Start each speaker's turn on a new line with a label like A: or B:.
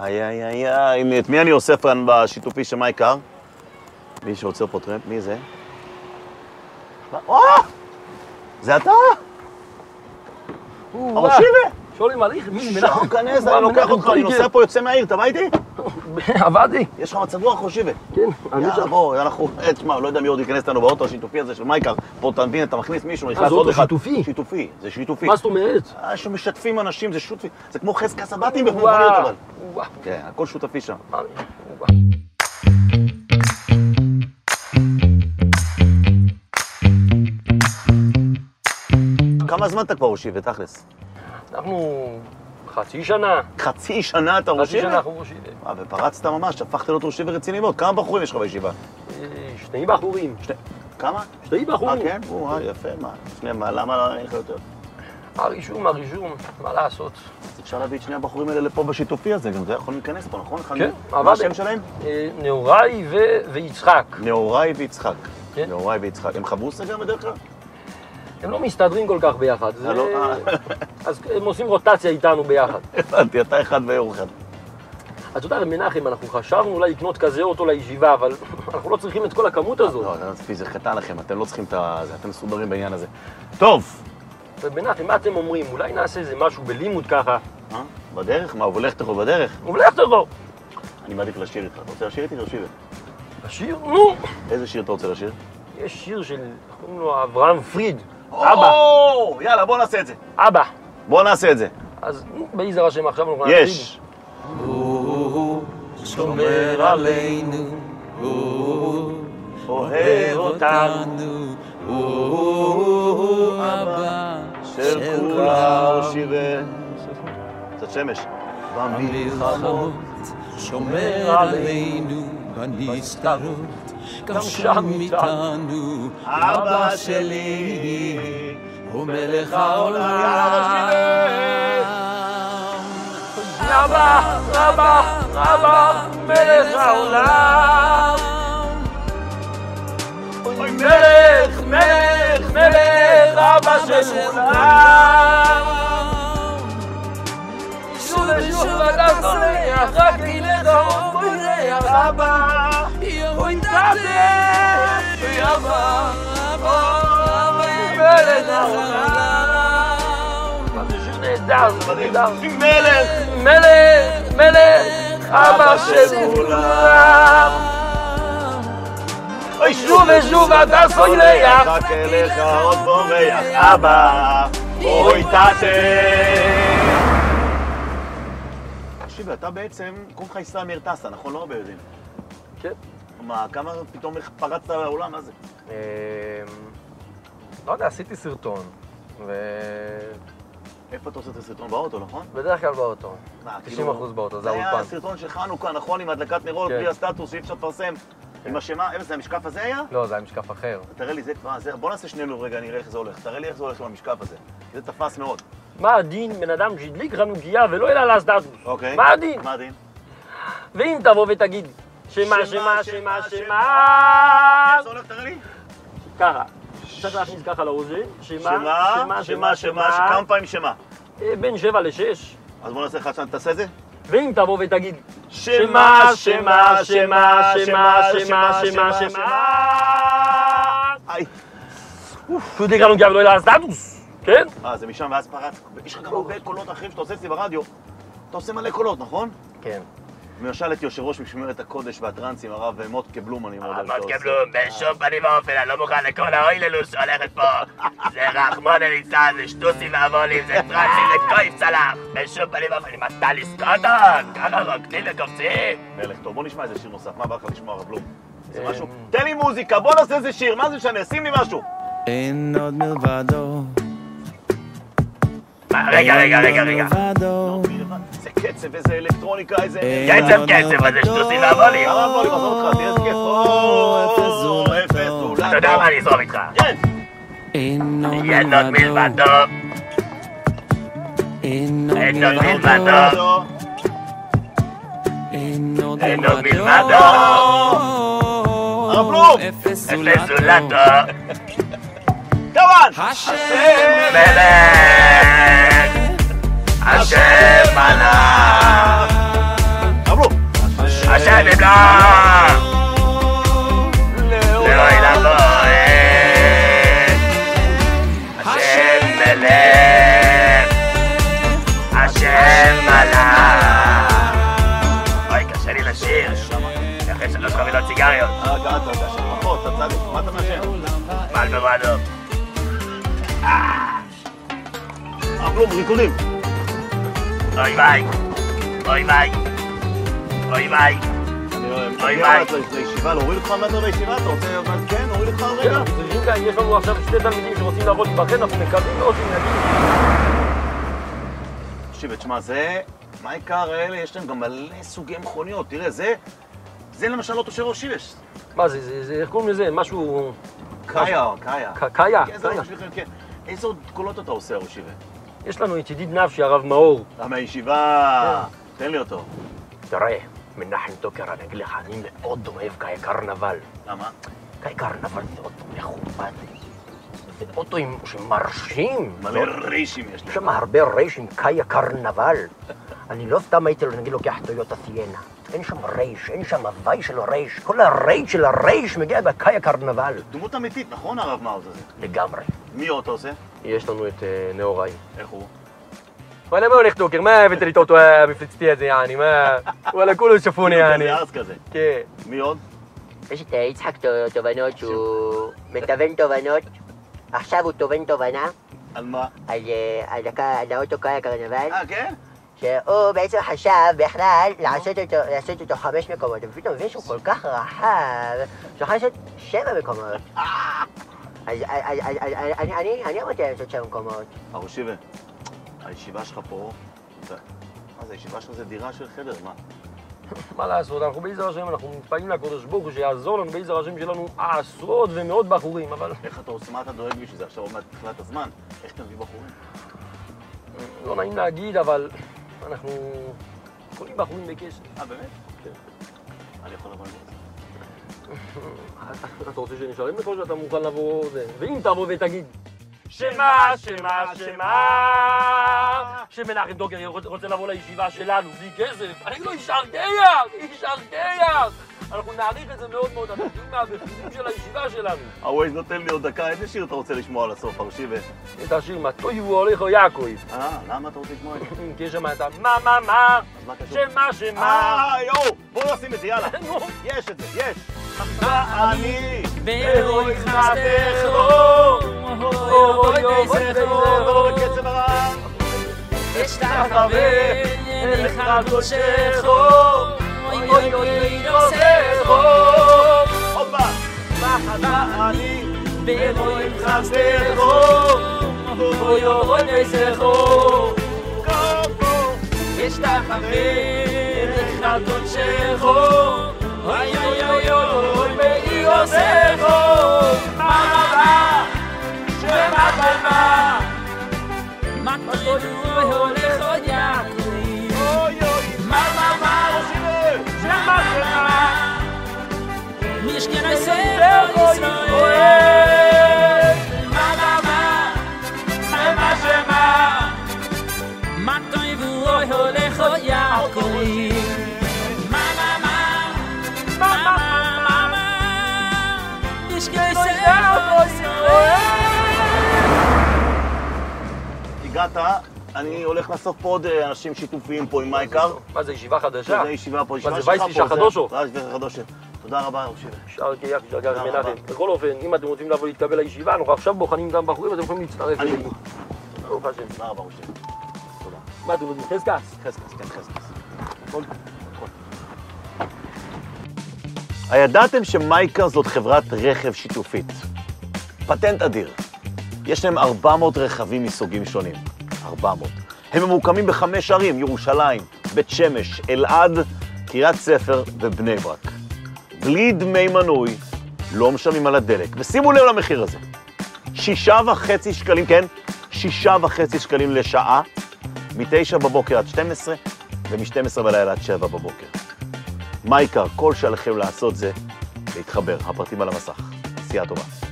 A: איי, איי, איי, איי, מי- את מי אני אוסף כאן בשיתופי של מה עיקר? מי שעוצר פה טרמפ, מי זה? או! זה אתה?
B: או,
A: הרשיבה!
B: שואלים על איך, מי
A: שחר,
B: מנחם?
A: כנס,
B: וואו,
A: אני לוקח
B: מנחם
A: אותך, אני
B: טויגר.
A: נוסע פה, יוצא מהעיר, אתה בא איתי?
B: עבדתי,
A: יש לך מצב רוח, חושיבה.
B: כן, אני
A: יאללה,
B: שם.
A: בוא, אנחנו, אה, תשמע, לא יודע מי עוד ייכנס לנו באוטו השיתופי הזה של מייקר. פה, אתה מבין, אתה מכניס מישהו, נכנס
B: אה, זה
A: עוד
B: אוטו
A: אחד.
B: שיתופי?
A: שיתופי, זה שיתופי.
B: מה זאת אומרת?
A: אה, שמשתפים אנשים, זה שותפי. זה כמו חזקה סבתים במובניות, אבל.
B: וואו,
A: כן, הכל שותפי שם.
B: וואו, וואו.
A: כמה זמן אתה כבר ראשיבה, תכלס?
B: אנחנו חצי שנה,
A: חצי שנה אתה
B: חצי שנה
A: ראשיבה?
B: אנחנו ראשי.
A: אה, ופרצת ממש, הפכת להיות ראשיבה רציני מאוד. כמה בחורים יש לך בישיבה?
B: אה, שני בחורים,
A: שני... כמה?
B: שני
A: אה,
B: בחורים.
A: כן? או, אה, יפה, מה? שני, מה, למה אין לך יותר?
B: הרישום, הרישום, מה לעשות?
A: אז אפשר להביא את שני הבחורים האלה לפה בשיתופי הזה, גם זה יכול להיכנס פה, נכון? אחד
B: כן,
A: מ-
B: עבד.
A: מה השם שלהם?
B: אה, נהוראי ו- ויצחק.
A: נהוראי ויצחק.
B: כן.
A: נהוראי ויצחק. הם חברוסה גם בדרך כלל?
B: הם לא מסתדרים כל כך ביחד. זה-
A: אה, לא? אה.
B: אז הם עושים רוטציה איתנו ביחד.
A: הבנתי, אתה אחד ואור אחד.
B: אתה יודע, מנחם, אנחנו חשבנו אולי לקנות כזה אוטו לישיבה, אבל אנחנו לא צריכים את כל הכמות הזאת.
A: לא, עזבי, זה קטן לכם, אתם לא צריכים את ה... זה, אתם מסודרים בעניין הזה. טוב!
B: ומנחם, מה אתם אומרים? אולי נעשה איזה משהו בלימוד ככה?
A: אה? בדרך? מה, הוא הולך תכף בדרך?
B: אבל איך תבוא?
A: אני מעדיף לשיר איתך. אתה רוצה לשיר איתי? תרשי לי.
B: השיר? נו!
A: איזה שיר אתה רוצה לשיר?
B: יש שיר של, איך קוראים לו אברהם פריד. אבא,
A: אבא! יאללה, בוא נעשה את זה.
B: אבא.
A: בוא נעשה את זה.
B: אז נו, בעזר השם עכשיו אנחנו נעשה את זה.
A: יש.
C: שומר עלינו, uh,
A: אוהב
C: אותנו, הוא אבא
A: של כולם שירה. קצת שמש.
C: מלחמות, שומר עלינו בנסתרות, גם שם איתנו, אבא שלי, הוא מלך העולם.
B: אבא, אבא, אבא, מלך העולם. אוי, מלך, מלך, מלך, אבא של כולם. שוב ושוב אתה צורח, רק תלך הרוב בורח, אבא. אוי, תעשה, אוי, אבא, אבא, אבא, מלך העולם. מה זה שיר נהדר, זה נהדר.
A: מלך!
B: מלך, מלך, אבא של כולם.
A: אוי,
B: שוב ושוב אתה סולח,
A: רק אליך עוד בורח. אבא! אוי, תתה! תקשיבי, אתה בעצם, קוראים לך ישראל מאיר טסה, נכון? לא הרבה יודעים.
B: כן.
A: מה, כמה פתאום איך פרצת לעולם, מה זה?
D: אמ, לא יודע, עשיתי סרטון, ובדרך
A: איפה אתה עושה את הסרטון באוטו, נכון?
D: כלל באוטו.
A: מה,
D: 90%
A: כאילו-
D: באוטו, זה
A: היה
D: האולפן.
A: הסרטון של חנוכה, נכון? עם הדלקת נרות,
D: כן.
A: בלי הסטטוס, שאי אפשר לפרסם. עם השמה, איזה, המשקף הזה היה?
D: לא, זה היה משקף אחר.
A: תראה לי, זה כבר, אה, זה- בוא נעשה שנינו רגע, נראה איך זה הולך. תראה לי איך זה הולך עם המשקף הזה. זה תפס מאוד.
B: מה הדין בן אדם שהדליק חנוכיה ולא העלה לה סטטוס?
A: אוקיי.
B: מה הדין?
A: מה הדין?
B: ואם תבוא ותגיד, שמה, שמה, שמה,
A: איך
B: שמה,
A: זה הולך, תראה לי.
B: ככה. צריך להכניס ככה לאוזן, שמה,
A: שמה, שמה, שמה, שכמה פעמים שמה.
B: אה, בין שבע לשש.
A: אז בוא נעשה אחד שם, תעשה את זה.
B: ואם תבוא ותגיד,
A: שמה, שמה, שמה, שמה, שמה, שמה, שמה.
B: שמה,
A: איי.
B: שהוא דיקה נוגע ולא יהיה לה סטטוס, כן?
A: אה, זה משם ואז פרץ. יש לך גם הרבה קולות אחרים שאתה עושה אצלי ברדיו. אתה עושה מלא קולות, נכון?
D: כן.
A: למשל את יושב ראש משמרת הקודש והטרנסים, הרב מוטקה בלום, אני מאוד אוהב שאתה עושה.
E: אמרתם לו, בשום פנים ואופן, אני לא מוכן לכל האויללוס שהולכת פה. זה רחמון הניצן, זה שטוסים והבונים, זה טראצים, זה קויף צלח. בשום פנים ואופן, עם הטליס קוטון, ככה רוקדים וקופצים.
A: מלך טוב, בוא נשמע איזה שיר נוסף, מה בא לך לשמוע הרב בלום? איזה משהו? תן לי מוזיקה, בוא נעשה איזה שיר, מה זה משנה? שים לי משהו.
C: אין עוד מלבדו,
E: מה, רגע, רגע, רגע, רגע.
C: מלבדו,
A: איזה קצב, איזה אלקטרוניקה, איזה...
C: אין
E: קצב,
C: עוד
E: קצב, אבל זה
C: מלבדו.
E: שטוסים והבונים.
A: הרב בלום, עזוב אותך, תהיה איזה כיף.
C: אפס
A: או,
C: זולתו.
A: אפס זולתו.
E: אתה יודע מה, אני אזרום איתך.
A: כן.
C: אין עוד
E: אין עוד מלבדו,
C: מלבדו, אין עוד
E: אין עוד
C: מלבדו,
E: מלבדו.
A: זו.
C: אין עוד
E: אין עוד
C: מלבדו,
E: מלבדו.
A: הרב לוב.
C: אפס
E: אפס
C: זולתו,
E: זולתו.
A: כמובן!
C: השם
E: מלך, השם עליו.
C: מלך.
E: נשאר! לאוי לבוא, השם מלך, השם מלך. אוי, קשה לי לשיר, אחרי שלוש חבילות סיגריות,
A: רגע, אתה יודע שפחות, אתה צדיק, מה אתה מאשר?
E: מעל בוועדות.
A: אה, כלום, ריקודים.
E: אוי ביי, אוי ביי, אוי ביי.
A: אני אוהב.
E: ביי,
A: תגיע
E: ביי.
A: ל- לישיבה, להוריד אותך מהדר לישיבה, אתה רוצה... אבל כן, להוריד אותך רגע.
B: רגע, יש לנו עכשיו שני תלמידים שרוצים לעבוד עם החן, אנחנו מקווים מאוד שהם יגידו.
A: תקשיב, תשמע, זה... מה העיקר האלה? יש להם גם מלא סוגי מכוניות. תראה, זה... זה למשל לא תושב ראש שיבש.
B: מה זה, זה, זה, איך קוראים לזה? משהו...
A: קאיה, קאיה.
B: ק- קאיה,
A: כן, זה
B: קאיה.
A: לא בשבילכם, כן. איזה עוד קולות אתה עושה, ראש שיבש?
B: יש לנו את ידיד נפשי, הרב מאור.
A: אה, מהישיבה... תן לי אותו.
B: תראה, מנחם טוקר, אני אגיד לך, אני מאוד אוהב קאי קרנבל.
A: למה?
B: קאי קרנבל זה אוטו מכובד. זה אוטוים שמרשים.
A: מלא רישים יש
B: יש
A: לך.
B: שם הרבה רייש עם קאיה קרנבל. אני לא סתם הייתי נגיד לוקח טויוטה סיינה. אין שם רייש, אין שם הוואי של הרייש. כל הרייש של הרייש מגיע בקאיה קרנבל.
A: דמות אמיתית, נכון, הרב מאוז הזה?
B: לגמרי.
A: מי עוד אתה עושה?
B: יש לנו את נאוראי.
A: איך הוא?
B: וואלה, מה הולך דוקר? מה הבאת לי את האוטו המפלצתי הזה, יעני? מה? וואלה, כולו שפוני,
A: כזה ארס כזה.
B: כן.
A: מי עוד?
F: יש את יצחק תובנות שהוא מתוון תובנות, עכשיו הוא תובן תובנה
A: על מה?
F: על, אה, על, הק- על האוטו קאי הקרנבל,
A: אה, כן?
F: שהוא בעצם חשב בכלל לעשות אותו, לעשות אותו חמש מקומות, ופתאום מבין שהוא כל כך רחב, שהוא יכול לעשות שבע מקומות. אז, אז, אז, אז, אז אני, אני, אני אמרתי להם לעשות שבע מקומות.
A: הראש שיבה, הישיבה שלך פה... אתה- מה זה, הישיבה שלך זה דירה של חדר, מה?
B: מה לעשות, אנחנו בעזר השם, אנחנו מתפללים לקדוש ברוך הוא שיעזור לנו בעזר השם שלנו עשרות ומאות בחורים, אבל
A: איך אתה עושה, מה אתה דואג בשביל זה? עכשיו עוד מעט תחילת הזמן, איך אתה מביא בחורים?
B: לא נעים להגיד, אבל אנחנו קונים בחורים בכסף.
A: אה, באמת? אני יכול לבוא לזה.
B: אתה רוצה שנשארים לך או שאתה מוכן לבוא זה? ואם תבוא ותגיד...
E: שמה, שמה, שמה.
B: שמנחם דוקר רוצה- רוצה לבוא לישיבה שלנו, בלי כסף, אני אגיד לו, איש ארדייח! איש ארדייח! אנחנו נעריך את זה מאוד מאוד, אנחנו נותנים מהבכירים של הישיבה שלנו.
A: הווייז נותן לי עוד דקה, איזה שיר אתה רוצה לשמוע על הסוף, הראש שיבה?
B: את השיר, מתי הוא הולך או יעקב?
A: אה, למה אתה רוצה לשמוע את זה?
B: כי יש שם את ה... מה, מה, מה?
A: אז מה קשור?
B: שמה, שמה?
A: אה, יואו, בואו נשים את זה, יאללה.
B: נו,
A: יש את זה, יש. אני...
G: ברוי חסדךו, אוי
B: אוי,
G: אוי
B: אוי,
A: לא
G: זכרו,
A: בקצב הרב.
G: אשתחווה אליך קודשךו, אוי אוי אוי נוסעךו,
A: עוד פעם. מחנה אני...
G: ברוי חסדךו, אוי אוי זכרו, אשתחווה אליך קודשךו, אוי אוי אוי אוי מאי עושךו, מה מה שמה מה מה מטרידו הולך עוד יעקב מה מה מה שמה שמה משכן הסדר ישראל מה מה מה שמה שמה מה טריבו אוי הולך עוד יעקב מה מה מה מה מה מה מה משכן הסדר ישראל
A: הגעת, אני הולך לעשות פה עוד אה, אנשים שיתופיים פה עם מייקר.
B: מה זה, ישיבה חדשה?
A: כן, זה ישיבה פה, ישיבה
B: זה
A: שלך פה.
B: וייס אישה חדושו?
A: זה אה. וייס אישה חדושו. תודה רבה, ראש שיבה.
B: שאר קייח, שאר קייח
A: תודה רבה.
B: מנחם. בכל אופן, אם אתם רוצים לבוא להתקבל לישיבה, אנחנו עכשיו בוחנים גם בחורים, אתם יכולים להצטרף
A: אני-
B: אלינו. ברוך השם.
A: תודה רבה, ראש שיבה. תודה.
B: מה אתם רוצים? חזקס?
A: חזקס, כן, חזקס. הכל, הכל. הידעתם שמייקה זאת חברת רכב שיתופית? פטנט אדיר. יש להם 400 רכבים מסוגים שונים. 400. הם ממוקמים בחמש ערים, ירושלים, בית שמש, אלעד, קריית ספר ובני ברק. בלי דמי מנוי, לא משלמים על הדלק. ושימו לב למחיר הזה. שישה וחצי שקלים, כן? שישה וחצי שקלים לשעה, מ-9 בבוקר עד 12, ומ-12 בלילה עד 7 בבוקר. מה העיקר? כל שעליכם לעשות זה להתחבר. הפרטים על המסך. עשייה טובה.